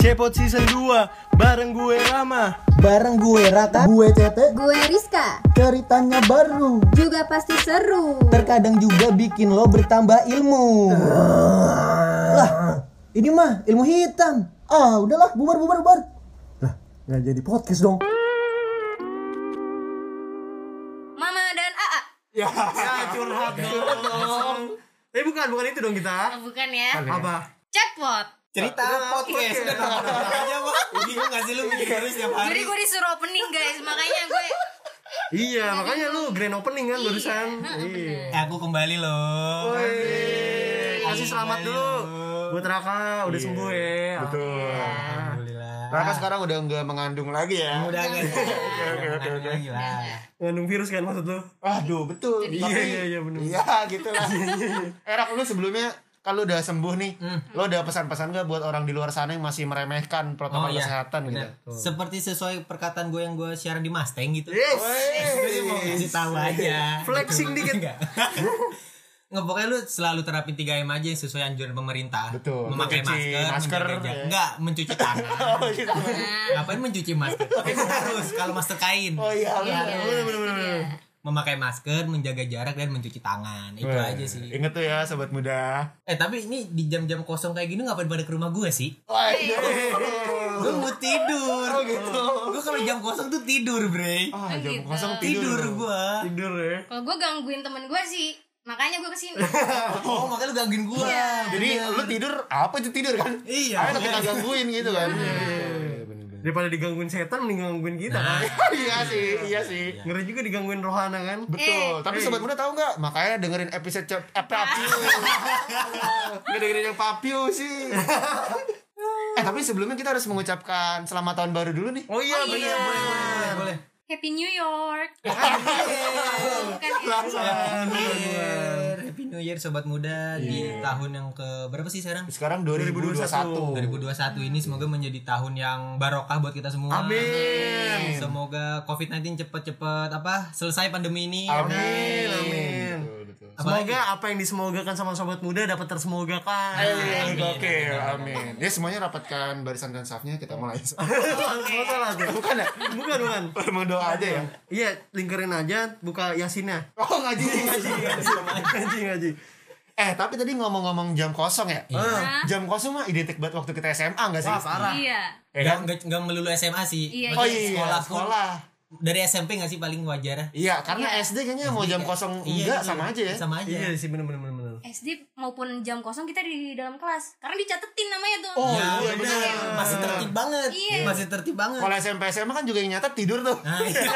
Tripod Season 2 Bareng gue Rama Bareng gue Rata, gue Tete, Gue Rizka, ceritanya baru. juga pasti seru. Terkadang juga bikin lo bertambah ilmu. Lah, ini mah ilmu hitam. Ah, udahlah, bubar, bubar, bubar. Lah, nggak jadi podcast dong. Mama dan Aa. Curhat dong Eh bukan, bukan itu dong kita bukan ya. Apa? Jackpot. cerita podcast aja pak bingung nggak sih lu mikir setiap hari Jadi gue disuruh opening guys, makanya gue Iya, makanya lu grand opening kan barusan Iya Eh, aku kembali loh Woi, Iya. Kasih selamat dulu Buat Raka, udah sembuh ya Iya. Betul. alhamdulillah Raka sekarang udah nggak mengandung lagi ya. udah guys oke oke oke Mengandung virus kan maksud lu? Aduh, betul. Iya, iya, iya bener iya. Iya, gitu lah. Erak lu sebelumnya kalau udah sembuh nih, Hmm. lo udah pesan-pesan gak buat orang di luar sana yang masih Oh meremehkan protokol iya, kesehatan benar. gitu? Seperti sesuai perkataan gue yang gue share di Mustang gitu. Yes. Gue mau kasih tahu aja. Gitu. Flexing dikit. Enggak. Nggak, pokoknya lu selalu terapin 3M aja yang sesuai anjuran pemerintah. Betul. Memakai Mencuci masker, masker, menjaga jarak. ya. Enggak, mencuci tangan. Oh, gitu. Ngapain mencuci masker? Emang harus kalau masker kain. Oh iya, benar. Iya. Memakai masker, menjaga jarak dan mencuci tangan. Itu aja sih. Ingat tuh ya, sobat muda. Eh tapi ini di jam-jam kosong kayak gini ngapain pada ke rumah gue sih? Oh. Gitu. Waduh. Gue mau tidur. Oh, gitu. Gue kalau jam kosong tuh tidur, Bre. Ah, jam gitu. kosong tidur tidur. gue. Tidur ya Kalau gue gangguin temen gue sih, makanya gue kesini. Oh, makanya lu gangguin gue. Iya. Jadi lu tidur apa itu tidur kan? Iya. Ayo kita gangguin gitu kan. Daripada digangguin setan, mending gangguin kita kan Iya sih, iya sih. Ngeri juga digangguin rohana kan Betul. Tapi sobat muda tahu nggak? Makanya dengerin episode cep eh, Papio. Nggak dengerin yang Papio sih. eh tapi sebelumnya kita harus mengucapkan selamat tahun baru dulu nih. Oh iya, bener bener Boleh. Happy New York. Bukan Happy New Year sobat muda di Iya. tahun yang ke berapa sih sekarang? Sekarang 2021. 2021 ini semoga menjadi tahun yang barokah buat kita semua. Amin. Semoga COVID-19 cepet-cepet apa selesai pandemi ini. Amin. Amin. Betul, betul. Semoga apa yang disemogakan sama sobat muda dapat tersemogakan. Eh, Gokil, amin. Ya semuanya rapatkan barisan dan safnya kita mulai. Foto lah tuh. Bukan ya? Bukan bukan. Emang doa aja ya. Iya, lingkarin aja buka yasinnya. Oh ngaji ngaji. Ngaji ngaji. Eh tapi tadi ngomong-ngomong jam kosong ya. Eh, Jam kosong mah identik banget waktu kita SMA nggak sih? Wah, parah. Iya. Ya Nggak- kan? nggak- nggak melulu SMA sih. Iya, Oh Maksudnya iya, Sekolah, pun sekolah. dari SMP nggak sih paling wajar? Iya, karena SD kayaknya mau jam kosong enggak gitu. sama aja ya. Sama aja. Iya sih bener bener bener. bener. SD maupun jam kosong kita di dalam kelas. Karena dicatetin namanya tuh. Oh, Ya, iya bener. bener. Masih tertib banget. Iya. Masih tertib banget. Kalau SMP SMA kan juga yang nyata tidur tuh. Nah, iya.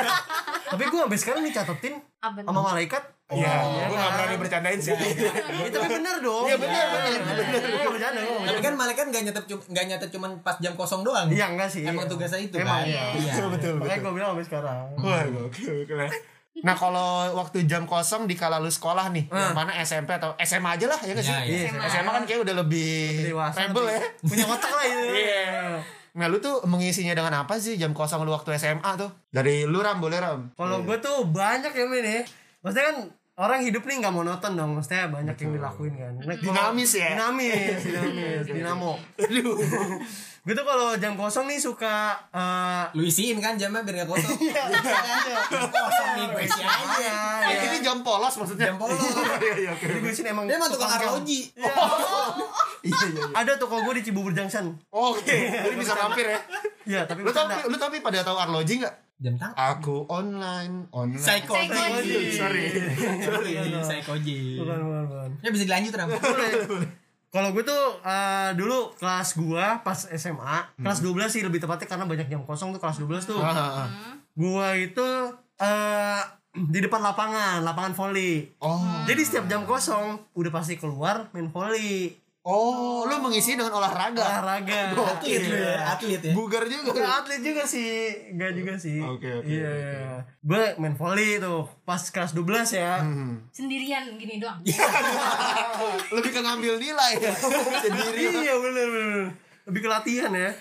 Tapi gue sampai sekarang dicatetin Apa tuh? sama malaikat. Iya, gue gak berani bercandain sih. kan? Iya, tapi bener dong. Iya bener, bener, bener. Iya, bercanda, gua nggak Tapi kan malaikat nggak nyetet cum- nggak nyetet cuman pas jam kosong doang. Iya enggak sih. Emang Iya. tugasnya itu Emang, kan. Hmm. iya. Betul, betul, Makanya betul. gue bilang sampai sekarang. Wah, gokil, gokil. Nah, kalau waktu jam kosong di kala lu sekolah nih, yang mana SMP atau SMA aja lah, ya nggak sih? Ya, iya. SMA. SMA kan kayak udah lebih Dewasa. rebel tapi ya. Punya otak lah itu. Iya. Nah, lu tuh mengisinya dengan apa sih jam kosong lu waktu SMA tuh? Dari lu Ram, boleh Ram? Kalau Iya. gue tuh banyak ya men ya. Maksudnya kan orang hidup nih nggak monoton dong. Maksudnya banyak yang dilakuin kan. Nah, Hmm. kalau- Dinamis ya? Dinamis, dinamis, dinamo. Aduh. Gue tuh kalau jam kosong nih suka eh, Lu isiin kan jamnya biar nggak kosong. Jam Kosong nih gue isi aja. Iya. Eh, ini jam polos maksudnya. Jam polos. Iya, iya, oke. Jadi gue sini emang Dia mah tukang cam. arloji. Iya, Ada toko gue di Cibubur Junction. Oke, jadi bisa mampir ya. Iya, tapi Lu tapi bercanda. lu tapi pada tahu arloji nggak? Jam tangan. Aku online online. Psikoji. Sorry. Sorry. Psikoji. Bukan, bukan, bukan. Iya, Ya bisa dilanjut Ram. Kalau gue tuh eh, dulu kelas gue pas SMA, Hmm. kelas 12 sih lebih tepatnya karena banyak jam kosong tuh kelas 12 tuh. Ah, ah, ah. Gue itu eh di depan lapangan, lapangan volley. Oh. Jadi setiap jam kosong udah pasti keluar main volley, Oh, lu mengisi dengan olahraga. olahraga. Iya. Atlet lu ya, atlet ya. Bugar juga. Gak atlet juga sih Gak juga sih Oke, oke, Iya Gue main volley tuh Pas kelas 12 ya Hmm. Sendirian gini doang. Iya. Lebih ke ngambil nilai. Sendiri. Iya bener bener Lebih ke latihan ya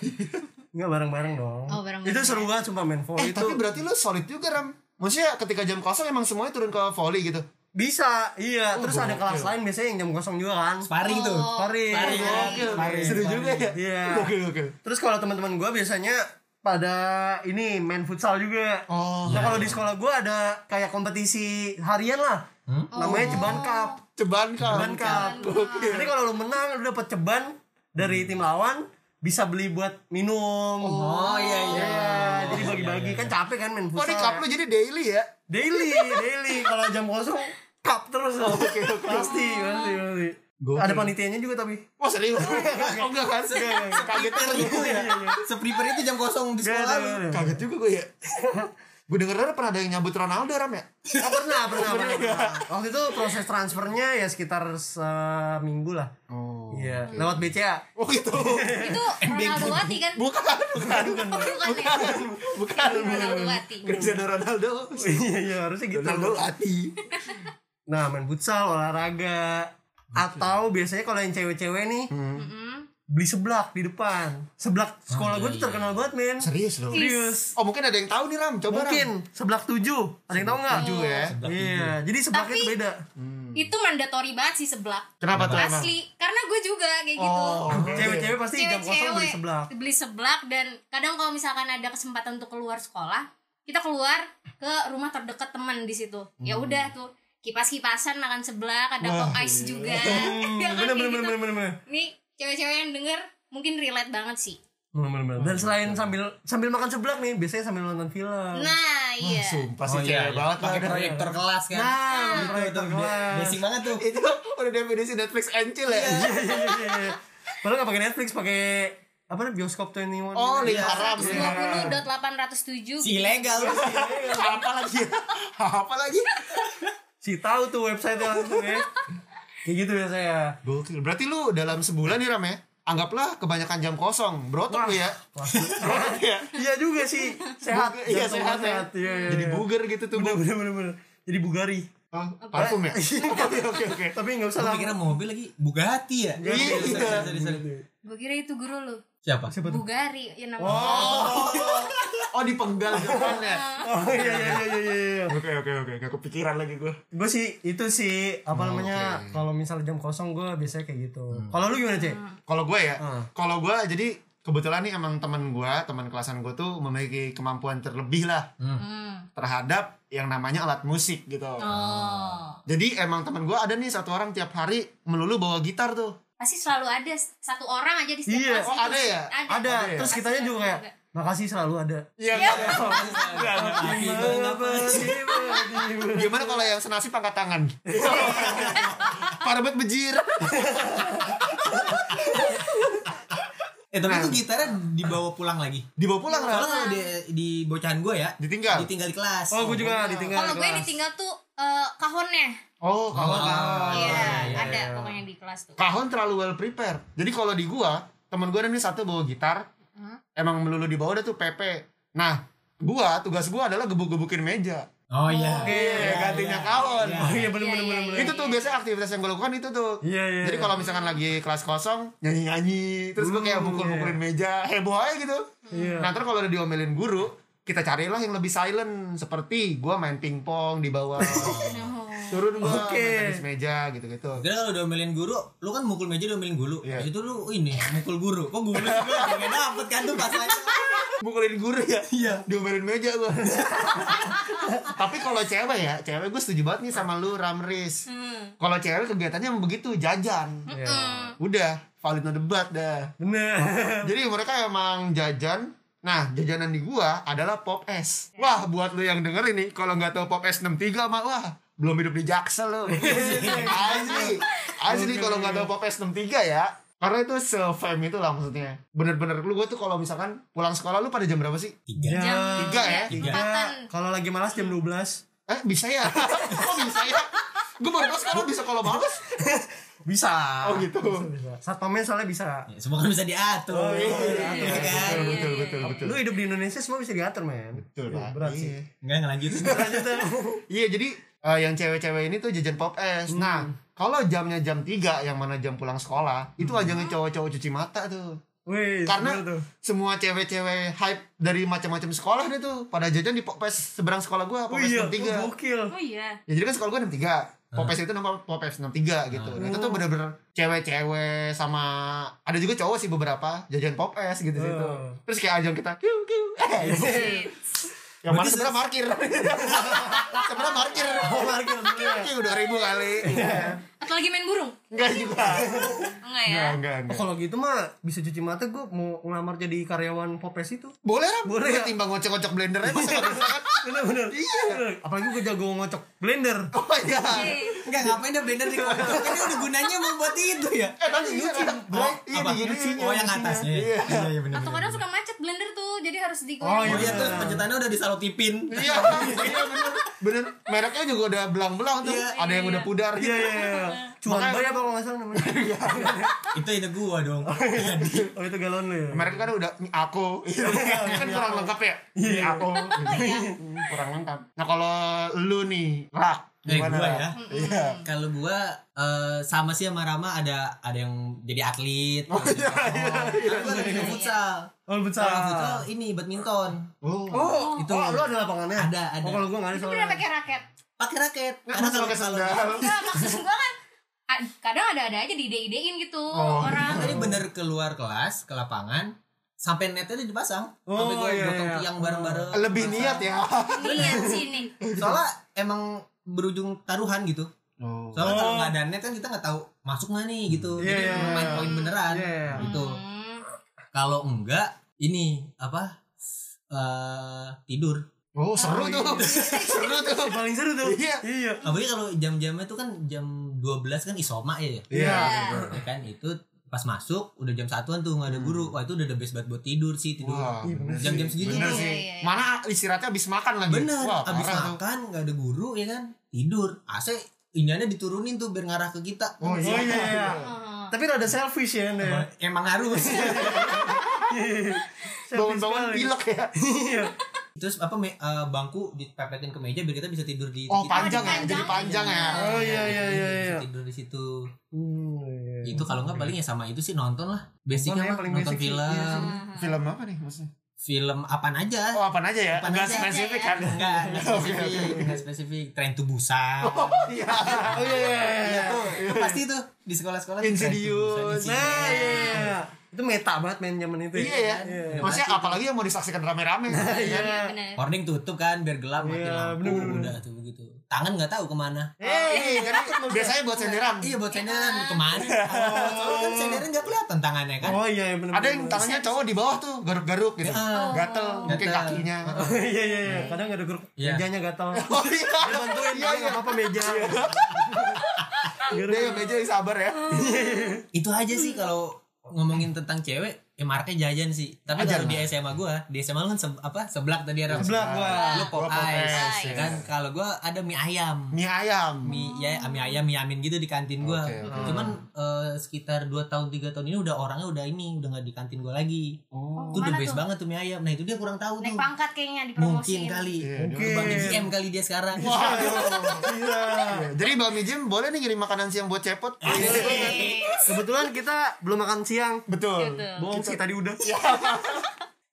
Enggak bareng-bareng dong Oh, bareng-bareng. Itu seru banget sumpah main volley itu Eh, tapi berarti lu solid juga, Ram. Maksudnya ketika jam kosong emang semuanya turun ke volley gitu. Bisa, iya. Terus ada kelas lain biasanya yang jam kosong juga kan. Sparring tuh. Sparring. Sparring. Gokil. Sparring. Seru juga ya. Iya. Gokil, gokil. Terus kalau teman-teman gue biasanya pada ini main futsal juga. Oh. Nah kalau di sekolah gue ada kayak kompetisi harian lah. Namanya ceban cup. Ceban kan. Hmm? Ceban cup. Hmm. Jadi kalau lu menang lu dapet ceban dari tim lawan bisa beli buat minum. Oh iya iya. Iya, jadi bagi-bagi kan capek kan main Oh, futsal. ini cup lu jadi daily ya? Daily, daily. Kalau jam kosong cup terus. Pasti, pasti, pasti. Ada panitianya juga tapi. Wah serius? Oh enggak kan? Kaget juga ya. Sepriper itu jam kosong di Iya, sekolah Oh, lu. Kaget juga gue ya. gue denger denger pernah ada yang nyambut Ronaldo ram ya? Oh, pernah, pernah, pernah. Waktu itu proses transfernya ya sekitar seminggu lah. Oh. Iya, lewat BCA. Oh gitu. Itu Ronaldo Wati kan? Bukan, bukan, bukan, Bukan ya? bukan. Ronaldo Wati. Cristiano Ronaldo. Iya, iya, harusnya gitu. Ronaldo Ati. Nah, main futsal, olahraga. Atau biasanya kalau yang cewek-cewek nih Mm-mm. beli seblak di depan. Seblak sekolah gue tuh terkenal banget, men. Serius loh. iya, Serius. Oh mungkin ada yang tahu nih Ram, coba Mungkin seblak tujuh. Ada yang tahu nggak? Ram. Juga ya. Iya, jadi seblaknya Tapi- tuh beda. Itu mandatory banget sih seblak. Kenapa tuh Oh, emang? Asli, karena gue juga kayak gitu. iya. Cewek-cewek pasti Oh, jam kosong beli Cewek-cewek seblak. beli seblak dan kadang kalau misalkan ada kesempatan untuk keluar sekolah, kita keluar ke rumah terdekat teman di situ. Ya Hmm. udah tuh kipas-kipasan makan seblak, ada pop iya, ice juga. Hmm, Bener, Ya kan, kayak bener, gitu. bener, bener, bener. Nih cewek-cewek yang denger mungkin relate banget sih. Bener, bener, bener. Dan selain sambil sambil makan seblak nih, biasanya sambil nonton film. Nah, iya. Sumpah sih cewek banget lah. pakai proyektor kelas kan. Nah, itu proyektor tuh kelas. basic banget tuh. Itu udah definisi Netflix encil ya. Iya, iya, iya. Padahal nggak pakai Netflix, pakai apa nih bioskop 21 Oh, Gitu. link haram. 150.807 Si ilegal. Iya. Apa lagi? ya? Apa lagi? si tahu tuh website langsung ya kayak gitu biasanya Gokil. Berarti lu dalam sebulan nih Ram ya? Anggaplah kebanyakan jam kosong. Berotot lu ya. Berotot ya. iya juga sih sehat Iya Jantung sehat ya. iya, iya, Jadi iya. bugar gitu tuh. bener bener bener bener. jadi bugari Ah, parfum ya? Oke oke oke. tapi nggak usah Gue lah kira mobil lagi Bugatti ya. Iya. Sorry, sorry, sorry. Gue kira itu guru lu. Siapa? Bugari ya namanya. Oh dipenggal depannya. oh iya iya iya iya, iya Oke oke oke. Gak kepikiran lagi gue. gue sih itu sih Oh, apa namanya kalau misalnya jam kosong gue biasanya kayak gitu Hmm. kalau lu gimana cek Hmm. Kalau gue ya, kalau gue jadi kebetulan nih emang teman gue, teman kelasan gue tuh memiliki kemampuan terlebih lah Hmm. terhadap yang namanya alat musik gitu. Oh. Jadi emang teman gue ada nih satu orang tiap hari melulu bawa gitar tuh. Pasti selalu ada satu orang aja di setiap Iya. kelas Oh, itu. ada ya? ada ya? terus kitanya juga kayak makasih selalu ada Iya. Gimana kalau yang senasib angkat tangan? Parabet bejir. Eh tapi itu gitarnya dibawa pulang lagi. Dibawa pulang Ra. Soalnya kalau di, di bocahan gue ya Ditinggal? Ditinggal di kelas oh gue juga ditinggal Kalau gue kelas. ditinggal tuh eh, kahonnya. Oh, kalau Iya, ada pokoknya di kelas tuh. kahon terlalu well prepared. Jadi kalau di gua, temen gua ada nih satu bawa gitar, emang melulu di bawah udah tuh PP. Nah, gua tugas gua adalah gebuk-gebukin meja. Oh iya Oke, gantinya kawan. oh iya bener Iya, bener iya, bener iya. bener. Itu tuh biasanya aktivitas yang gue lakukan itu tuh. Iya, iya. Jadi kalau misalkan lagi kelas kosong, nyanyi-nyanyi, terus gue kayak mukul-mukulin meja, heboh aja gitu. Iya. Nah, terus kalau udah diomelin guru, kita carilah yang lebih silent seperti gua main pingpong di bawah. Turun gua Oke. main tenis meja gitu-gitu. Kira kalau diomelin guru, lu kan mukul meja diomelin guru. Iya. Habis itu lu ini mukul guru. Kok guru sih? Gua pengen dapet kan tuh pas lagi. mukulin guru ya Iya. diomelin meja gua tapi kalau cewek ya cewek gue setuju banget nih sama lu Ramris Hmm. kalau cewek kegiatannya emang begitu jajan Hmm. udah valid no debat dah Iya. bener jadi mereka emang jajan Nah, jajanan di gua adalah pop es. Wah, buat lu yang denger ini, kalau nggak tahu pop es 63 mah wah, belum hidup di Jaksel lu. asli. Asli kalau nggak tahu pop es 63 ya. Karena itu se-fame itu lah maksudnya. Bener-bener lu gua tuh kalau misalkan pulang sekolah lu pada jam berapa sih? Tiga. Jam Tiga ya? tiga. Empatan. Iya. Kalau lagi malas jam 12 Eh, bisa ya? Kok bisa ya? Gue baru tau sekarang bisa kalau males. bisa. Oh gitu. Satpamnya soalnya bisa. Ya, semua kan bisa diatur. Iya kan? Betul, betul, Iya, betul. Lu hidup di Indonesia semua bisa diatur, men. Betul, Pak. berat sih. Iya. Enggak ngelanjutin. Iya jadi eh, yang cewek-cewek ini tuh jajan pop es. Hmm. Nah kalau jamnya jam 3 yang mana jam pulang sekolah itu ajangnya cowok-cowok cuci mata tuh. Wih, Karena bener Hmm. Iya, tuh. semua cewek-cewek hype dari macam-macam sekolah deh tuh pada jajan di pop es seberang sekolah gua Oh pop es iya, Ah. jam 3. gokil. Oh iya. Ya jadi kan sekolah gua jam 3. Popes itu nama Popes 63 gitu. Nah, itu Oh. tuh bener-bener cewek-cewek sama ada juga cowok sih beberapa jajan Popes gitu situ. Hmm. Terus kayak ajang kita kiu kiu. Eh, ibu. Yang mana sebenarnya markir. sebenarnya markir. Markir, Kiu kiu 2000 kali. Atau lagi main burung? Enggak juga. Enggak ya. Enggak, enggak, Oh, enggak. kalau gitu mah bisa cuci mata gue mau ngelamar jadi karyawan Popes itu. Boleh lah, Boleh boleh ya? timbang ngocok-ngocok blendernya masa nggak bisa kan? Bener-bener. Iya. Apalagi gue jago ngocok blender. Oh iya. Enggak ngapain dah blender di Ini udah gunanya mau buat itu ya. Eh tadi iya kan? Oh, Iya apa? di gini. Oh, yang atasnya. Iya. Iya, iya benar. Atau kadang suka macet blender tuh, jadi harus digoyang. Oh, Oh, iya Iya. terus pencetannya udah disalutipin. Iya, iya bener. Bener. Mereknya juga udah belang-belang tuh. Iya. Ada yang udah pudar gitu. Iya, iya, iya. Cuan Makanya- bayar apa kalau nggak salah namanya. itu ide gua dong. Oh, itu galon lu ya. Mereka kan udah "Ini aku kan kurang lengkap ya ini aku kurang lengkap nah kalau lu nih rak Dari gimana Eh, gua Rak? ya. iya Kalau gua eh, sama sih sama Rama ada ada yang jadi atlet. Oh, iya, iya, iya. Karena gua ada yang futsal. Oh, lu Kalau futsal bentar. ini badminton. oh Oh, Itu. oh, lu ada lapangannya? Ada, ada. Oh, kalau gue nggak ada Itu soalnya. pernah pakai raket. Pakai raket. Nggak, masa pakai sendal Enggak, maksud gua kan a- kadang ada-ada aja diide-idein gitu Oh. orang. kan Tadi bener keluar kelas ke lapangan sampai netnya udah dipasang. Oh, sampai gua iya, gotong iya. tiang bareng-bareng. lebih niat ya Niat sini. Soalnya emang berujung taruhan gitu. Oh. Soalnya kalau nggak ada net kan kita nggak tahu masuk nggak nih gitu. Hmm. Iya, Jadi iya, emang main iya. poin beneran Iya, iya. gitu. Hmm. Kalau enggak ini apa? eh tidur. oh seru tuh seru tuh Paling seru tuh. Iya. Iya. Apalagi kalau jam-jamnya tuh kan jam 12 kan isoma ya. ya? iya Ya kan itu pas masuk udah jam satuan tuh nggak ada guru. Wah itu udah the best banget buat tidur sih tidur. Hmm. Wah, Iya, bener Jam-jam sih. segitu Bener tuh. sih. Iya, iya, iya. Mana istirahatnya abis makan lagi? Bener, Wah, abis parah tuh. makan nggak ada guru ya kan tidur. AC iniannya diturunin tuh biar ngarah ke kita. Oh iya. Oh, iya, iya. Oh. Tapi rada selfish ya, Anda. ya? Emang harus. Selfish Bangun-bangun sekali. pilek ya. Iya. Terus apa me- eh, bangku dipepetin ke meja biar kita bisa tidur di Oh di- panjang ya, panjang. jadi panjang ya. Oh iya iya iya iya. Bisa tidur di situ. Hmm, iya. Itu kalau nggak paling ya sama itu sih nonton lah. Nonton Basicnya ya, mah, paling nonton basic sih. film, Iya sih. Film apa nih maksudnya? film apaan aja. Oh apaan aja ya? Apaan Eh, aja. Enggak Iya, spesifik kan? Enggak, enggak spesifik, enggak spesifik. Tren to Busan. Iya. Oh iya iya. iya. Itu pasti tuh di sekolah-sekolah Tren to Busan, Insidious. Insidious. Nah, iya, iya. Itu meta banget main zaman itu. ya. Iya ya. Maksudnya apalagi yang mau disaksikan rame-rame. Iya, kan? benar. Morning tutup kan biar gelap mati Iya, lampu bener-bener. udah tuh begitu. Tangan nggak tahu kemana. Hei, kan biasanya buat senderan. Iya buat senderan kemana? Oh, soalnya kan senderan nggak kelihatan tangannya kan. Oh iya iya benar. Ada yang tangannya cowok di bawah tuh garuk-garuk gitu. Ah. Gatel, mungkin Gatel. kakinya. Iya iya iya. Kadang ada grup Iya. mejanya gatal. Oh iya. Dia bantuin Iya dia iya. enggak apa-apa meja. Dia yang meja yang sabar ya. itu aja sih kalau ngomongin tentang cewek ya marknya jajan sih tapi kalau Jajan di lah. SMA gua di SMA lu kan se- apa seblak tadi orang Seblak gua. lu pop Gua pop ice ice, ya. kan kalau gua ada mie ayam Mie ayam. mie ya mie ayam mie amin gitu di kantin gua Oke, oke. cuman eh, sekitar 2 tahun 3 tahun ini udah orangnya udah ini udah nggak di kantin gua lagi Oh. itu the Mana best tuh? banget tuh mie ayam nah itu dia kurang tahu tuh Naik pangkat kayaknya mungkin dipromosiin. kali Iya, mungkin mungkin. GM kali dia sekarang Iya. Jadi Bang Mijem boleh nih ngirim makanan siang buat cepot. Iya. Kebetulan kita belum makan siang. Betul. Betul. Bohong sih tadi udah. Iya,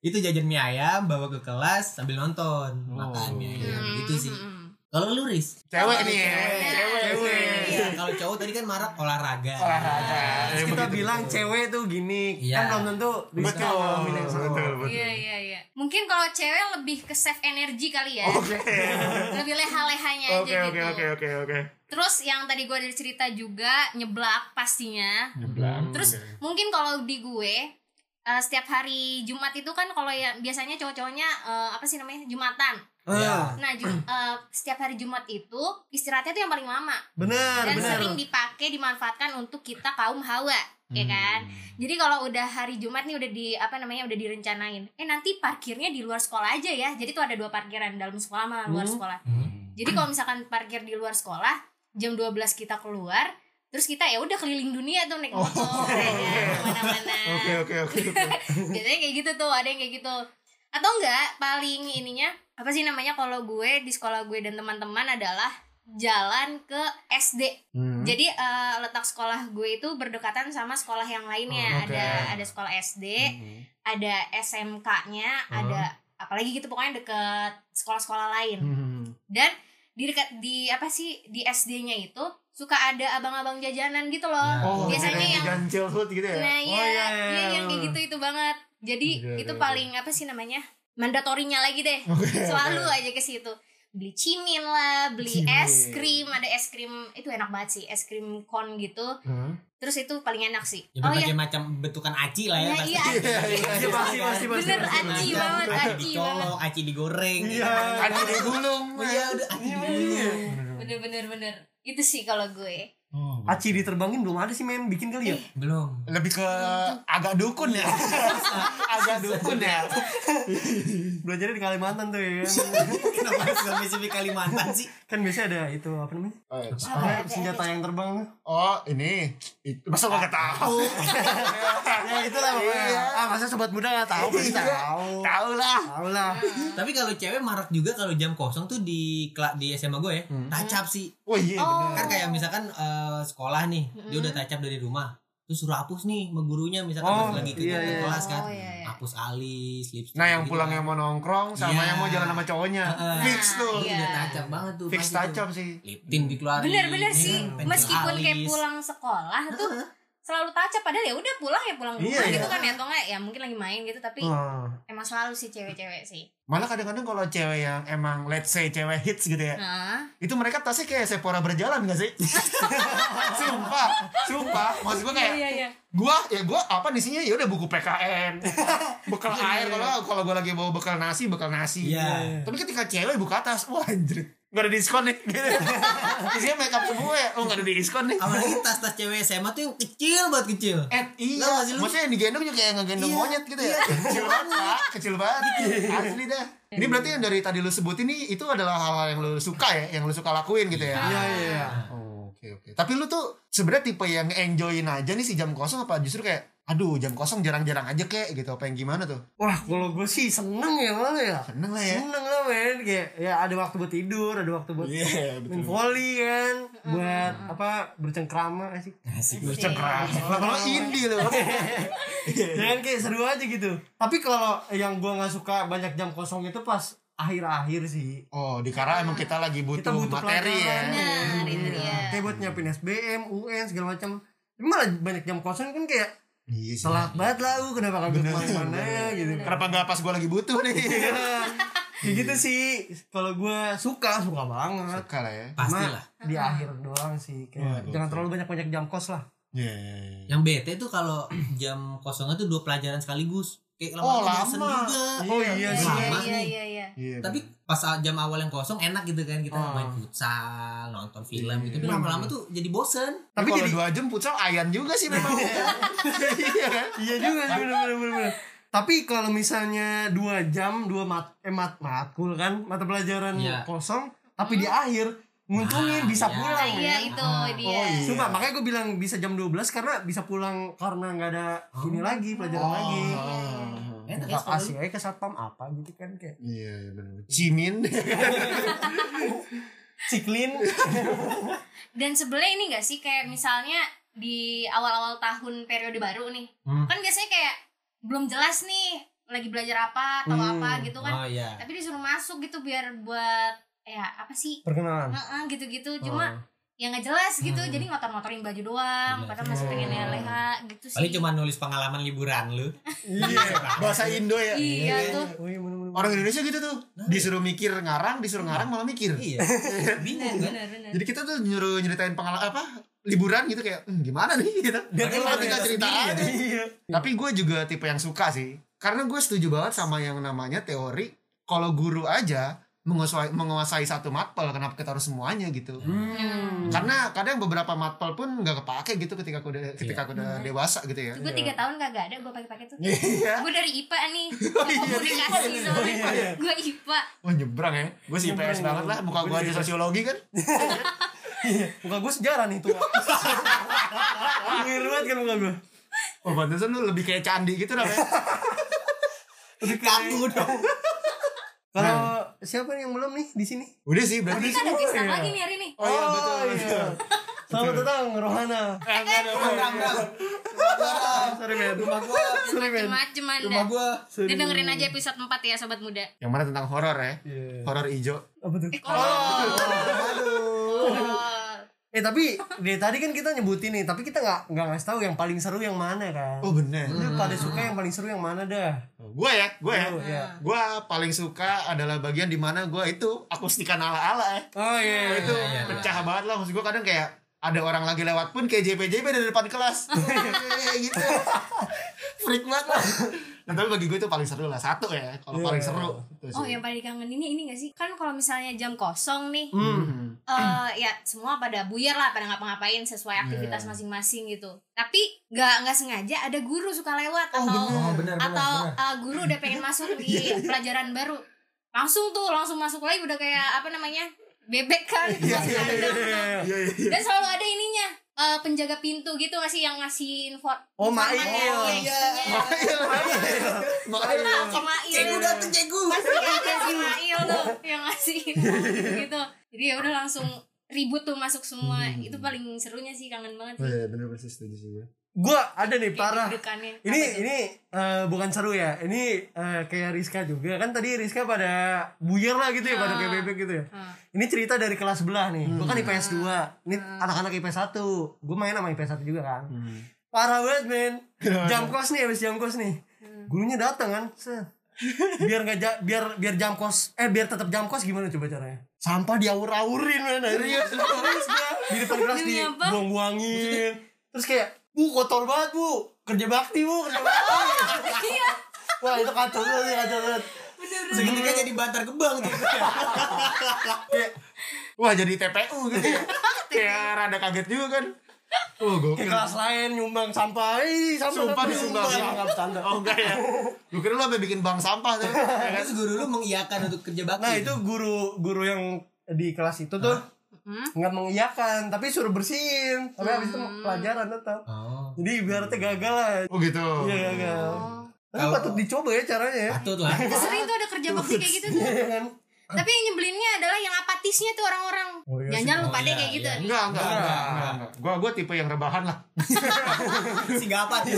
itu jajan mie ayam bawa ke kelas sambil nonton makan mie ayam Hmm, gitu sih kalau lu Riz Iya, Cewek nih. Cewek. Iya, kalau cowok tadi kan marak olahraga. Olahraga. Ya, Terus kita begitu. bilang cewek tuh gini. Iya. Kan belum tentu bisa Betul. ngalamin yang sama. Betul. Iya iya iya. Mungkin kalau cewek lebih ke save energi kali ya. Lebih leha-lehanya aja Oke gitu. oke oke oke oke. Terus yang tadi gue ada cerita juga nyeblak pastinya. Hmm, Terus mungkin kalau di gue eh, setiap hari Jumat itu kan kalau ya biasanya cowok-cowoknya eh, apa sih namanya Jumatan. Iya. Ah, Nah ju- eh, setiap hari Jumat itu istirahatnya tuh yang paling lama benar dan benar. sering dipakai dimanfaatkan untuk kita kaum hawa ya Hmm. kan jadi kalau udah hari Jumat nih udah di apa namanya udah direncanain eh nanti parkirnya di luar sekolah aja ya jadi tuh ada dua parkiran dalam sekolah sama luar Hmm. sekolah jadi kalau misalkan parkir di luar sekolah jam 12 kita keluar terus kita ya udah keliling dunia tuh Oh. naik motor ya kan, kemana-mana Oke oke oke. biasanya kayak gitu tuh ada yang kayak gitu atau enggak paling ininya apa sih namanya kalau gue di sekolah gue dan teman-teman adalah jalan ke SD jadi eh, letak sekolah gue itu berdekatan sama sekolah yang lainnya Oh, oke. ada ada sekolah SD ada Hmm. SMK-nya ada apalagi gitu pokoknya deket sekolah-sekolah lain dan di dekat di apa sih di SD-nya itu suka ada abang-abang jajanan gitu loh. Ya, Oh, Biasanya yang ganjil hood gitu ya. nah iya, Oh, iya, iya, iya, iya. yang kayak gitu itu banget. Jadi Iya, itu iya, paling apa sih namanya? Mandatorinya lagi deh. Selalu aja ke situ. Beli cimin lah, beli es krim, ada es krim itu enak banget sih, es krim kon gitu. Terus itu paling enak sih. Ya, oh berbagai iya. macam bentukan aci lah ya. Nah, pasti. iya, aci. Iya, pasti pasti pasti. Bener pasti. aci Macam, banget, aci aci banget. dicolok, aci digoreng. gitu kan. Iya. Ada di gulung. Iya, udah aci digulung. Bener-bener bener. Itu sih kalau gue. Aci diterbangin belum ada sih men bikin kali ya. Eh. Belum. Lebih ke agak dukun ya. agak dukun ya. Belajarnya di Kalimantan tuh ya. Kenapa harus spesifik Kalimantan sih? kan biasanya ada itu apa namanya? Oh, Apa, senjata yang terbang. Oh ini itu masa gak tahu? ya itulah Iya. Iya. pokoknya. Ah masa sobat muda gak tahu pasti tahu. Tahu lah. Tahu lah. Iya. Tapi kalau cewek marak juga kalau jam kosong tuh di kela- di SMA gue ya, tacap sih. Oh iya Oh. benar. Kan kayak misalkan eh, sekolah nih, dia Hmm. udah tacap dari rumah. Terus suruh hapus nih sama gurunya misalkan Oh, pas lagi ke iya, ke iya. kelas kan. Oh, iya, iya. Hapus alis, lipstick. Nah yang gitu pulang kan. yang mau nongkrong sama Iya. yang mau jalan sama cowoknya Heeh. fix tuh. Nah, iya. udah tacap banget tuh. Fix pasti tuh. tajam sih. Liptin dikeluarin. ya Bener-bener sih. kan, pensil Meskipun kayak alis. pulang sekolah tuh selalu tacap padahal ya udah pulang ya pulang Iya, rumah iya. Oh. gitu kan ya atau enggak ya mungkin lagi main gitu tapi Wah. emang selalu sih cewek-cewek sih. Malah kadang-kadang kalau cewek yang emang let's say cewek hits gitu ya. Nah, Itu mereka tasnya kayak Sephora berjalan gak sih? sumpah, sumpah. Maksud gue kayak iya iya. gua ya gua apa isinya ya udah buku PKN. bekal air kalau kalau gua lagi bawa bekal nasi, bekal nasi. Iya. Tapi ketika cewek buka tas, wah anjir. Gak ada diskon nih. Gitu. isinya makeup semua ya. Oh gak ada diskon nih. Apalagi tas-tas cewek SMA tuh yang kecil banget kecil. Eh, iya, Tau gak sih lu? maksudnya yang digendong juga kayak ngegendong Iya, monyet gitu ya. Kecil banget, Iya. Pak. Kecil banget. Asli dah. Ini berarti yang dari tadi lu sebutin nih itu adalah hal-hal yang lu suka ya, yang lu suka lakuin gitu ya. Iya iya. iya. Oh, Oke, oke. Tapi lu tuh sebenarnya tipe yang enjoyin aja nih si jam kosong apa justru kayak aduh jam kosong jarang-jarang aja kayak gitu apa yang gimana tuh? Wah kalau gue sih seneng ya malah ya. Seneng lah ya. Seneng lah men kayak ya ada waktu buat tidur, ada waktu buat main volley kan, buat apa bercengkrama Iya sih. Asik. Cengkeram. Lama-lama indie lu. Jangan Kan, kayak seru aja gitu. Tapi kalau yang gua nggak suka banyak jam kosong itu pas akhir-akhir sih. Oh, di Kara emang kita lagi butuh, Kita butuh materi ya. pelajaran. Iya. Nah, itu dia. Kayak buat nyiapin SBM, UN segala macam. Tapi malah banyak jam kosong kan kayak Iya sih. telat banget lah lu kenapa kagak kemana-mana ya gitu. Iya. Kenapa nggak pas gua lagi butuh nih? Kayak gitu sih. Kalau gua suka suka banget. Suka lah ya. Cuma Pastilah. di akhir doang sih kayak jangan terlalu banyak-banyak jam kos lah. Iya, iya, iya. Yang bete tuh kalau jam kosongnya tuh dua pelajaran sekaligus. Kayak lama Oh, bosen lama. juga. Oh iya sih. Lama Iya nih. iya iya. Iya, Tapi pas jam awal yang kosong enak gitu kan kita Oh. main futsal, nonton film Iya, gitu. Tapi lama-lama tuh jadi bosen. Tapi Tapi kalau jadi dua jam futsal ayan juga sih memang. Iya kan? Iya juga sih bener bener bener, bener. Tapi kalau misalnya dua jam dua mat eh mat matkul kan mata pelajaran Iya. kosong tapi di akhir nguntungin bisa iya. pulang Nah, iya kan? itu dia. Ah, Sumpah makanya gue bilang bisa jam 12 karena bisa pulang karena nggak ada ini lagi pelajaran Oh. lagi. Iya, Enak ya Kita sekolah kasih aja ke satpam apa gitu kan kayak Iya, iya benar. Cimin. ciklin. Dan sebelah ini gak sih kayak misalnya di awal-awal tahun periode baru nih. Hmm. Kan biasanya kayak belum jelas nih lagi belajar apa atau apa gitu lu. kan. Oh iya. Tapi disuruh masuk gitu biar buat ya apa sih? Perkenalan. Heeh, gitu-gitu Oh. cuma ya nggak jelas gitu. Jadi ngotor-ngotorin baju doang, Bener. padahal masih pengen leha gitu sih. Paling cuma nulis pengalaman liburan lu. Iya, bahasa Indo ya. Iya tuh. Oh iya bener bener. Orang Indonesia gitu tuh. Disuruh mikir ngarang, disuruh ngarang malah mikir. Iya. Bingung kan? Bener, bener. Jadi kita tuh nyuruh nyeritain pengalaman apa? Liburan gitu kayak "Hmm, gimana nih gitu. Dia keluar Padahal kita tinggal ya, cerita sendiri aja. Iya. Tapi gue juga tipe yang suka sih. Karena gue setuju banget sama yang namanya teori. Kalau guru aja menguasai, menguasai satu matpel, kenapa kita harus semuanya gitu? Nah, Karena kadang beberapa matpel pun nggak kepake gitu ketika aku udah, ketika aku udah dewasa gitu ya. Itu gue tiga tahun kagak ada gue pakai-pakai tuh. Iya. Gue dari IPA nih. komunikasi soalnya. Gue IPA. Wah nyebrang ya. Gue sih Nyebrang, IPS banget lah. Muka gue Gua aja juga. sosiologi kan. Iya. Muka gue sejarah nih tuh. Mirip banget kan muka gue. Oh pantesan lu lebih kayak candi gitu namanya. Kaku dong. Kalau siapa nih yang belum nih di sini? Udah sih berarti. Kita kan ada kisah lagi nih hari ini. Oh iya betul. Selamat datang Rohana. Eh, nggak ada, nggak ada. Bram, Bram. Sorry men. rumah gua Sorry men. macem-macem rumah anda gua Dia dengerin aja episode 4 ya sobat muda Yang mana tentang horor ya? Horor ijo. Apa tuh? Eh kolor Kolor. Eh tapi dari tadi kan kita nyebutin nih, tapi kita nggak nggak ngasih tahu yang paling seru yang mana kan. Oh bener. Lu pada suka yang paling seru yang mana dah? Gue ya, gue ya. Lu, ya. Gue paling suka adalah bagian dimana gue itu akustikan ala-ala ya. Oh iya. itu pecah banget lah maksud gue kadang kayak ada orang lagi lewat pun kayak JPJP dari depan kelas Kayak gitu freak banget lah nah tapi bagi gue itu paling seru lah satu ya kalau Iya. paling seru itu sih. Oh yang paling dikangeninnya ini gak sih? Kan kalau misalnya jam kosong nih Hmm. eh ya semua pada buyar lah pada ngapa-ngapain sesuai aktivitas masing-masing gitu tapi nggak nggak sengaja ada guru suka lewat atau oh benar atau eh, guru udah pengen masuk di pelajaran baru langsung tuh langsung masuk lagi udah kayak apa namanya bebek kan itu masuk kandang tuh. iya iya iya. dan selalu ada ininya eh, penjaga pintu gitu ngasih yang ngasih info Oh, informan Mail. ya, Oh, iya, itunya. Makanya lah. Makanya Nah, si Mail. cegu pasti ada si Mail tuh yang ngasih info gitu jadi ya udah langsung ribut tuh masuk semua itu paling serunya sih kangen banget Oh sih iya bener persis setuju sih gue Gua ada nih parah. deg-degannya. Ini Apa tuh? ini eh, bukan seru ya. Ini eh, kayak Rizka juga kan tadi Rizka pada buyar lah gitu ya pada kayak bebek gitu ya. Ah. Ini cerita dari kelas sebelah nih. Gua kan IPS 2. Ini Ah. anak-anak IPS 1. Gua main sama IPS 1 juga kan. Parah banget men. Jam kos nih habis jam kos nih. Hmm. Gurunya datang kan. set. Biar nggak ja- biar biar jam kos eh biar tetap jam kos gimana coba caranya? Sampah diaur-aurin men. Iya. Serius lu serius gua. Di depan kelas di Demi apa? buang-buangin. Terus kayak, "Bu, kotor banget, Bu. Kerja bakti, Bu. Kerja bakti." Wah, itu kacau banget, sih, kacau banget. segitiga jadi bantar gebang tuh Kayak, Wah jadi TPU gitu ya Kayak rada kaget juga kan Oh Ke gue kelas lain nyumbang sampah. Ih, sampah. sampah, Sumpah disumbang. sampah. Enggak bercanda. Oh enggak ya Gue kira lu sampe bikin bank sampah tuh terus guru lu mengiyakan untuk kerja bakti Nah itu guru guru yang di kelas itu tuh nggak mengiyakan tapi suruh bersihin tapi habis itu pelajaran tetap oh jadi ibaratnya gagal lah Oh gitu iya gagal tapi Kalau- patut dicoba ya caranya ya patut lah sering tuh ada kerja bakti kayak gitu tuh Iya kan tapi yang nyebelinnya adalah yang apatisnya tuh orang-orang Oh, iya sih. jangan lupa Oh, deh iya, kayak gitu iya. Enggak, enggak, enggak, enggak, enggak. Gua gua tipe yang rebahan lah. si gapat ya.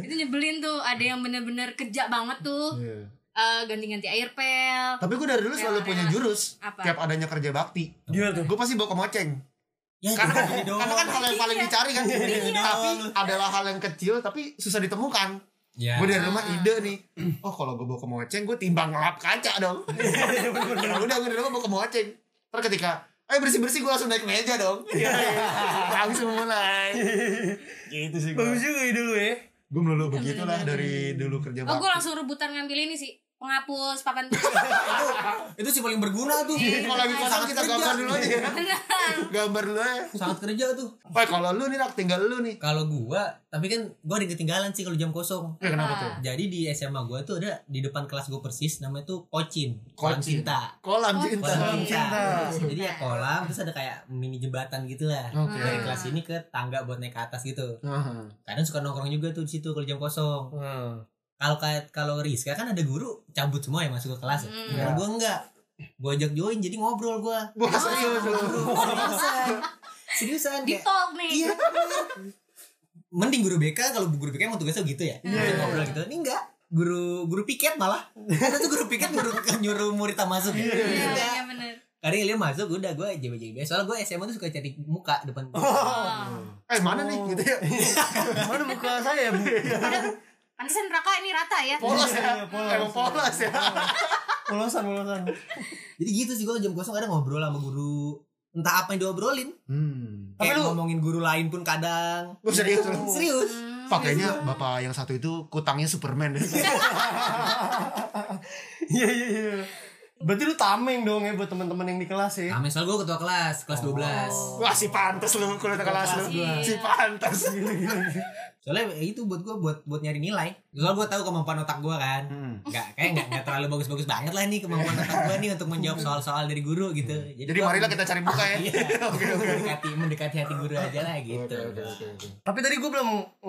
itu nyebelin tuh ada yang bener-bener kerja banget tuh Iya. Eh, ganti-ganti air pel Tapi gua dari dulu selalu Rela-rela. punya jurus Apa? tiap adanya kerja bakti. gimana tuh Gua pasti bawa ke moceng. ya Karena kan, gini karena kan hal yang paling Iya. dicari kan. Iya. tapi adalah hal yang kecil tapi susah ditemukan. ya Gua dari rumah Ah. ide nih. Oh, kalau gua bawa ke moceng gua timbang lap kaca dong. Ya udah gua dari rumah bawa ke moceng. Terus ketika Eh bersih-bersih gua langsung naik meja dong Langsung mulai Gitu sih bagus gue juga ide lu ya Gue melulu begitulah dari dulu kerja oh gue bakti langsung rebutan ngambil ini sih penghapus papan tulis itu sih paling berguna tuh Iya, Kalau lagi kosong kita gambar dulu aja ya Gambar dulu aja sangat kerja tuh Wah kalau lu nih nak tinggal lu nih. kalau gua tapi kan gua ada yang ketinggalan sih kalau jam kosong Ya, kenapa tuh? jadi di SMA gua tuh ada di depan kelas gua persis namanya tuh kocin Kocin. kolam cinta Kolam cinta. kolam cinta. cinta jadi ya kolam terus ada kayak mini jembatan gitu lah Oke. dari kelas ini ke tangga buat naik ke atas gitu Aha. kadang suka nongkrong juga tuh di situ kalau jam kosong Hmm. kalau kayak kalau Rizka kan ada guru cabut semua yang masuk ke kelas ya. Hmm. Kalau gua enggak gua ajak join jadi ngobrol gua Wah serius lu. seriusan seriusan di kayak- talk nih iya mending guru BK kalau guru BK emang tugasnya gitu ya Dia ngobrol gitu ini enggak guru guru piket malah ada tuh guru piket guru nyuruh murid tak masuk ya iya Enggak. iya, bener kadang dia masuk udah gue jb jb soalnya gue SMA tuh suka cari muka depan oh. Eh mana nih gitu ya. mana muka saya bu pantesan raka ini rata ya Polos ya. Iya, polos. Emang polos ya. polosan polosan jadi gitu sih gue jam kosong kadang ngobrol sama guru entah apa yang diobrolin Hmm. Tapi kayak lu- ngomongin guru lain pun kadang Gitu. Lu serius lu. serius Hmm. Pakainya bapak yang satu itu kutangnya Superman. iya iya iya berarti lu tameng dong ya buat teman-teman yang di kelas ya Nah, soal gue ketua kelas kelas Oh. 12 Wah si pantas lu kulit kelas lu. Si pantas. soalnya ya itu buat gue buat buat nyari nilai soalnya gue tahu kemampuan otak gue kan Hmm. nggak kayak nggak nggak terlalu bagus-bagus banget lah nih kemampuan otak gue nih untuk menjawab soal-soal dari guru gitu jadi, Hmm. Jadi gua- marilah kita cari muka ya. Iya. Oke oke. mendekati mendekati hati guru aja lah gitu Oke, oke, oke, oke. tapi tadi gue belum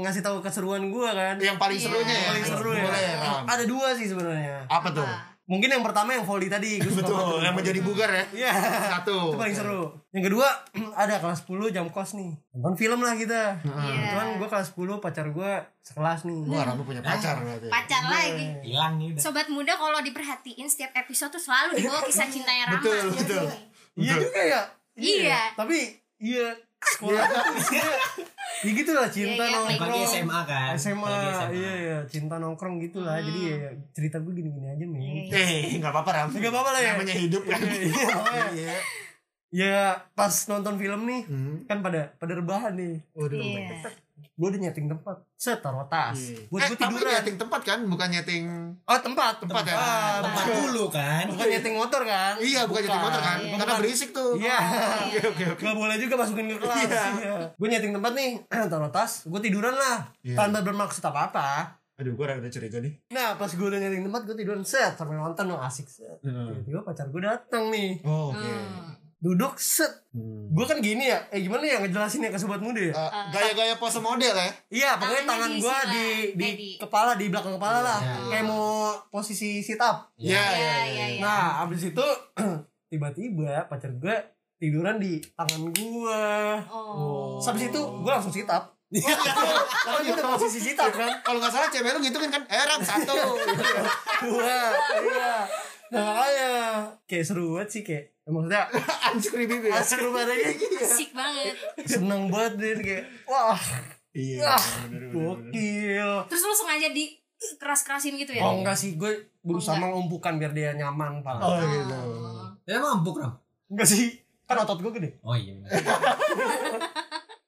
ngasih tahu keseruan gue kan Yang paling serunya ya. paling seru ya Boleh, Ram. ada dua sih sebenarnya Apa tuh? mungkin yang pertama yang volley tadi gue suka banget. Betul, yang menjadi bugar ya. Iya. Satu. Itu paling seru. Yang kedua ada kelas 10 jam kos nih. Nonton film lah kita. Iya. Cuman gue kelas 10 pacar gue sekelas nih. Wah, Rama punya pacar berarti. ya? Pacar lagi. hilang nih udah Sobat muda kalau diperhatiin setiap episode tuh selalu dibawa kisah cintanya Rama. Betul, betul. Iya juga ya. Iya. Tapi iya sekolah Iya. tuh isinya ya gitu lah cinta Iya, iya, nongkrong. apalagi SMA kan SMA, Apalagi iya iya cinta nongkrong gitu lah. Jadi ya, ya, cerita gue gini-gini aja nih. Eh, enggak apa-apa Ram. Nggak apa-apa lah ya. Namanya hidup kan. Iya. Ya pas nonton film nih Hmm. kan pada pada rebahan nih. Waduh. Iya. Gue udah nyeting tempat. Set taruh tas. Buat eh, gue tapi tiduran. nyeting tempat kan, bukan nyeting Oh tempat Tempat ya? Ah, Tempat bukan- dulu kan Bukan nyeting motor kan? Iya, bukan nyeting motor kan. Iya. Karena berisik tuh. Iya. Oke, oke, oke. Gak boleh juga masukin ke kelas. Iya. Gue nyeting tempat nih, taruh tas, gue tiduran lah. Iya. Tanpa bermaksud apa-apa. Aduh, gua rada curiga nih. Nah, pas gue udah nyeting tempat, gue tiduran set sambil nonton dong asik set. Hmm. Tiba-tiba pacar gue datang nih, Oh, oke. duduk set. Hmm. Gue kan gini ya, eh gimana ya ngejelasinnya ke sobat muda ya? Eh, Gaya-gaya pose model ya. Iya, pokoknya tangannya tangan diisi gue lah, di, di kayak di- kepala, di belakang kepala lah. Kayak mau posisi sit up. Iya, Iya, iya. iya, iya. Nah, abis itu tiba-tiba pacar gue tiduran di tangan gue. Oh. Habis itu gue langsung sit up. Karena gue udah posisi sit up kan. Kalau nggak salah cewek lu gitu kan kan, eh Ram satu. Dua, iya. Nah, makanya kayak seru banget sih kayak maksudnya Anjir bibi. ya. asik banget aja Asik banget. seneng banget deh kayak wah Iya. gokil Terus lu sengaja di keras-kerasin gitu ya? oh enggak sih gue berusaha melumpuhkan biar dia nyaman pak Oh gitu. ya emang empuk Ram enggak sih kan otot gue gede oh iya benar.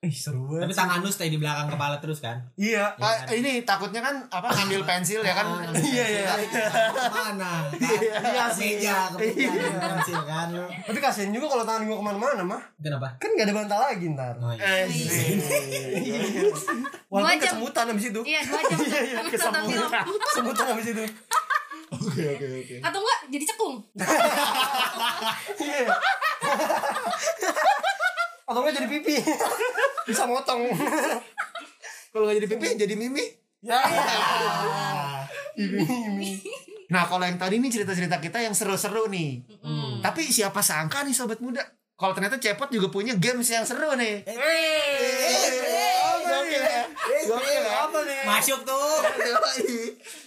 ih seru tapi banget tangan lu stay di belakang kepala terus kan iya Ah, ini takutnya kan apa ngambil pensil ya kan. iya iya mana iya sih. meja kepencet Iya. pensil kan lu tapi kasian juga kalau tangan gue kemana-mana mah kenapa kan gak ada bantal lagi ntar oh iya Eh, sih. walaupun Dua jam. kesemutan abis itu Iya, dua jam iya iya tuh nonton film. kesemutan kesemutan abis itu Oke oke oke. Atau enggak jadi cekung? Iya. Atau enggak jadi pipi. Bisa motong. Kalau nggak jadi pipi jadi mimi. Ah. ya. Ini Nah kalau yang tadi nih cerita-cerita kita yang seru-seru nih. Tapi siapa sangka nih sobat muda. Kalau ternyata Cepot juga punya games yang seru nih. Gokil ya. Gokil ya. apa nih? masuk tuh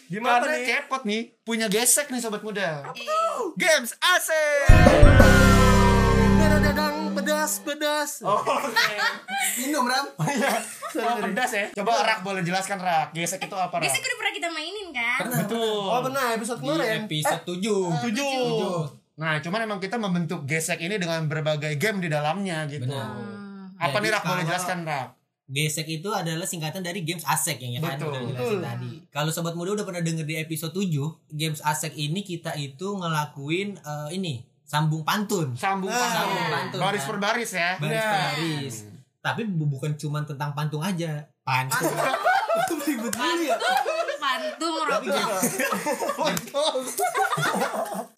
Gimana Karena nih? Cepot nih punya gesek nih sobat muda. Games asik. Dadadadang pedas pedas. minum Ram Wah, pedas ya. Coba Rak boleh jelaskan Rak. Gesek itu apa Rak? Biasanya udah pernah kita mainin kan? Betul. Oh benar episode di kemarin. Eh, episode tujuh Tujuh. Nah, cuman emang kita membentuk gesek ini dengan berbagai game di dalamnya gitu. Benar. Apa Jadi nih Rak boleh kalau- jelaskan Rak? Gesek itu adalah singkatan dari games asek yang ya kan Betul. udah jelasin tadi. Kalau sobat muda udah pernah denger di episode 7, games asek ini kita itu ngelakuin eh, ini, sambung pantun. Sambung Nah, sambung pantun. pantun, Baris kan? per baris ya. Baris per baris. Tapi bu- bukan cuman tentang pantung aja. Pantun. Ribet dulu ya. Pantung Tapi rokok. gini.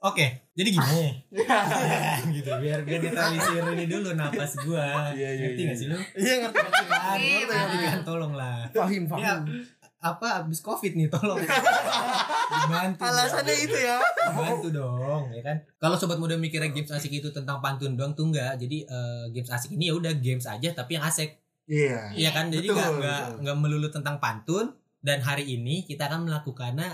Oke, jadi gini. gitu biar gue netralisir ini dulu napas gua. Iya, iya, Ngerti iya. gak sih lu? Iya ngerti. ngerti. Kan, Iya, ngerti kan? tolonglah. Paham Ya, paham. apa abis covid nih tolong dibantu Alasannya itu ya. bantu dong ya kan kalau sobat muda mikirnya games asik itu tentang pantun doang tuh enggak jadi eh, games asik ini ya udah games aja tapi yang asik Iya. Iya kan jadi Betul, enggak enggak betul. enggak melulu tentang pantun dan hari ini kita akan melakukannya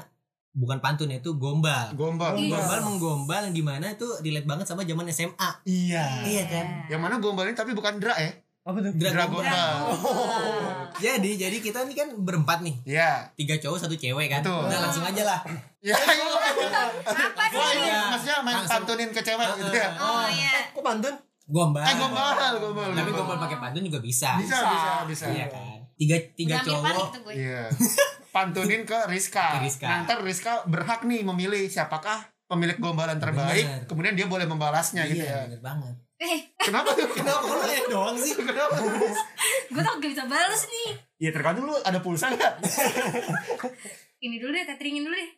bukan pantun ya, itu gombal Gombal. Iya. gombal menggombal yang dimana itu relate banget sama zaman SMA Iya. iya kan Yang mana gombal ini tapi bukan dra ya. Apa tuh? Dra Dra gombal. gombal. jadi jadi kita ini kan berempat nih Iya. tiga cowok satu cewek kan Betul. udah langsung aja lah Iya. iya. Apa Wah, ini dulu? maksudnya main Oh, Iya. Langsung. pantunin ke cewek gitu ya. Oh iya. Eh, Kok pantun? gombal Eh gombal, gombal. tapi gombal pakai pantun juga bisa Bisa, bisa, bisa. Iya kan. Tiga tiga Udah hampir panik gitu. cowok. tuh gue. Iya. Pantunin ke Rizka. Ke Rizka. Nah, ntar Rizka berhak nih memilih siapakah pemilik gombalan terbaik. Benar. Kemudian dia boleh membalasnya gitu ya. Iya, bener banget. Eh, Kenapa tuh? Kenapa? Kok lu doang sih? Kenapa? gue tau gak bisa balas nih. Iya tergantung lu ada pulsa nggak? Ini dulu deh, cateringin dulu deh.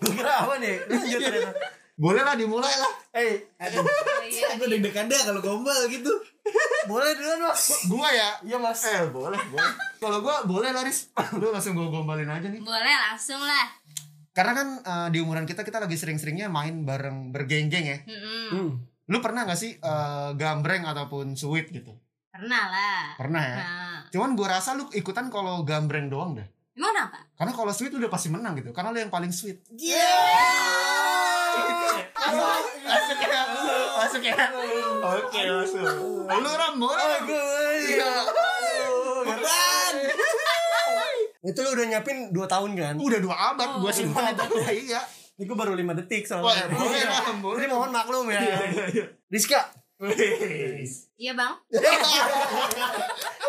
Gue kira apa nih? Lanjut ternyata. Boleh lah dimulai lah. Eh, Oh, iya. Gue deg-degan deh kalau gombal gitu. boleh duluan mas? Gua ya. Iya mas. Eh boleh, boleh. Kalau gua boleh lah Riz. Lu langsung gua gombalin aja nih. Boleh langsung lah. Karena kan eh, di umuran kita kita lagi sering-seringnya main bareng bergenggeng ya. Mm-mm. Hmm. Lu pernah gak sih eh, gambreng ataupun suit gitu? Pernah lah. Pernah ya. Nah, Cuman gua rasa lu ikutan kalau gambreng doang dah. emang kenapa? Karena kalau sweet lu udah pasti menang gitu. Karena lu yang paling sweet. Iya. Ah. Masuk ya. Masuk ya. Oke, masuk. Lu Rambo. Itu lu udah nyiapin 2 tahun kan? Udah dua abad gua simpan itu. Iya. Ini gue baru 5 detik Wah, soalnya. boleh Ram, boleh. Jadi mohon maklum ya. Rizka. Iya bang.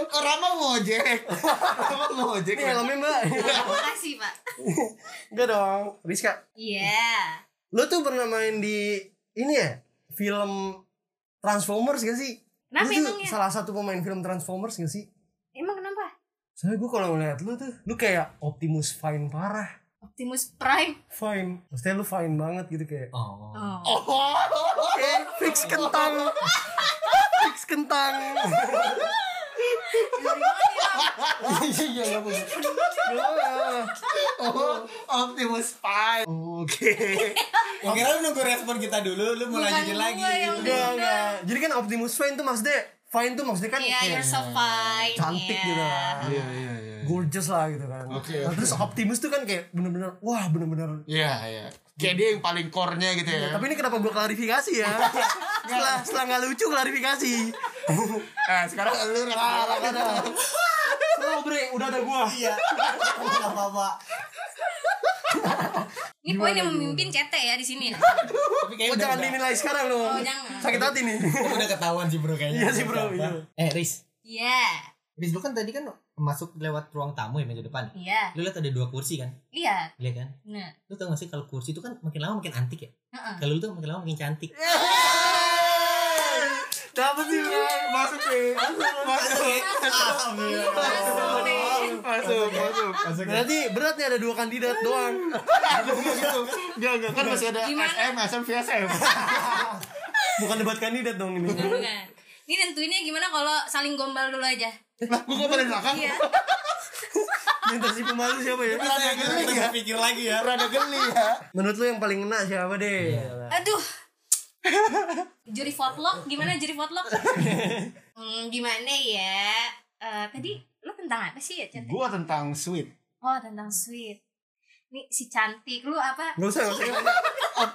Oh, Rama ngojek. Rama ngojek. Ini helmnya mbak. Makasih pak. Enggak dong. Rizka. Iya. Lu tuh pernah main di ini ya? Film Transformers gak sih? Lu Kenapa tuh emangnya? salah satu pemain film Transformers gak sih? Emang kenapa? Soalnya gue kalau ngeliat lu tuh, lu kayak Optimus Fine parah. Optimus Prime. Fine. Maksudnya lu fine banget gitu kayak. Oh. Oh. Eh, fix kentang. fix kentang. Iya, Oh, Optimus Prime. Oke. Oke, Ya lu nunggu respon kita dulu, lu mau Bukan lanjutin gua lagi. yang- Enggak, enggak. Jadi kan Optimus Fine tuh maksudnya fine tuh maksudnya kan Iya, kayak you're so fine. cantik Iya. gitu lah. Iya, iya, iya. Gorgeous lah gitu kan. Oke, Nah, terus Optimus tuh kan kayak bener-bener wah bener-bener. Iya, iya. Kayak dia yang paling core-nya gitu ya. Tapi ini kenapa gua klarifikasi ya? setelah setelah nggak lucu klarifikasi. Eh, sekarang lu Rama. Lo bre, udah ada gua. Iya. Enggak apa-apa. Ini poin yang memimpin CT ya di sini. ya? Tapi Oh, kayaknya udah, jangan udah, dinilai sekarang dong. Oh, jangan. Sakit hati nih. udah ketahuan sih bro kayaknya. Iya sih, bro, Siapa? iya. Eh, Riz. Iya. Riz lu kan tadi kan masuk lewat ruang tamu ya minggu depan. Iya. Lu lihat ada dua kursi kan? Iya. Lihat kan? Nah. Lu tau gak sih kalau kursi itu kan makin lama makin antik ya? Heeh. Kalau lu tuh makin lama makin cantik. Dapat sih, Bang. masuk sih. Masuk. Masuk deh. Masuk, masuk. Masuk. Berarti berat nih ada dua kandidat doang. Enggak, enggak kan masih ada Gimana? SM, SM, VSM. Bukan debat kandidat dong ini. Bukan. Nah, Ini tentuinnya gimana kalau saling gombal dulu aja? Lah, gua kok paling belakang? Iya. Yang tersi pemalu siapa ya? Kita pikir lagi ya. Rada geli ya. Menurut lu yang paling ngena siapa deh? Aduh. juri votlock gimana juri votlock? hmm, gimana ya? Eh, tadi lu tentang apa sih ya CT? Gua tentang sweet. Oh tentang sweet. Nih si cantik lu apa? Gak usah, gak usah.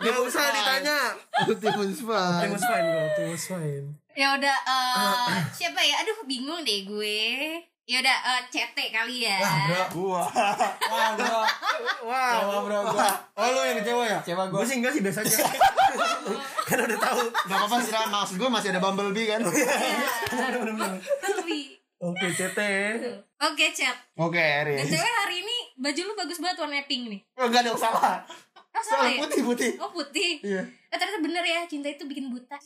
Gak usah ditanya. Optimus Prime. Optimus Prime, gua Optimus Prime. Ya udah eh, siapa ya? Aduh bingung deh gue. Ya udah eh, CT kali ya. Gua. Wah, bro. Kecewa, Wow. bro. Gua Oh lu yang kecewa ya? Kecewa gua. Gue sih enggak sih biasa aja. Karena udah tahu. Gak apa-apa sih, Ram. maksud gua masih ada Bumblebee kan. Tapi Oke, CT. Oke, Cep. Oke, Dan Eris. cewek hari ini baju lu bagus banget warnanya pink nih. Enggak ada yang salah. Oh, salah Salah ya? putih-putih. Oh, putih. Iya. Eh, ternyata bener ya, cinta itu bikin buta.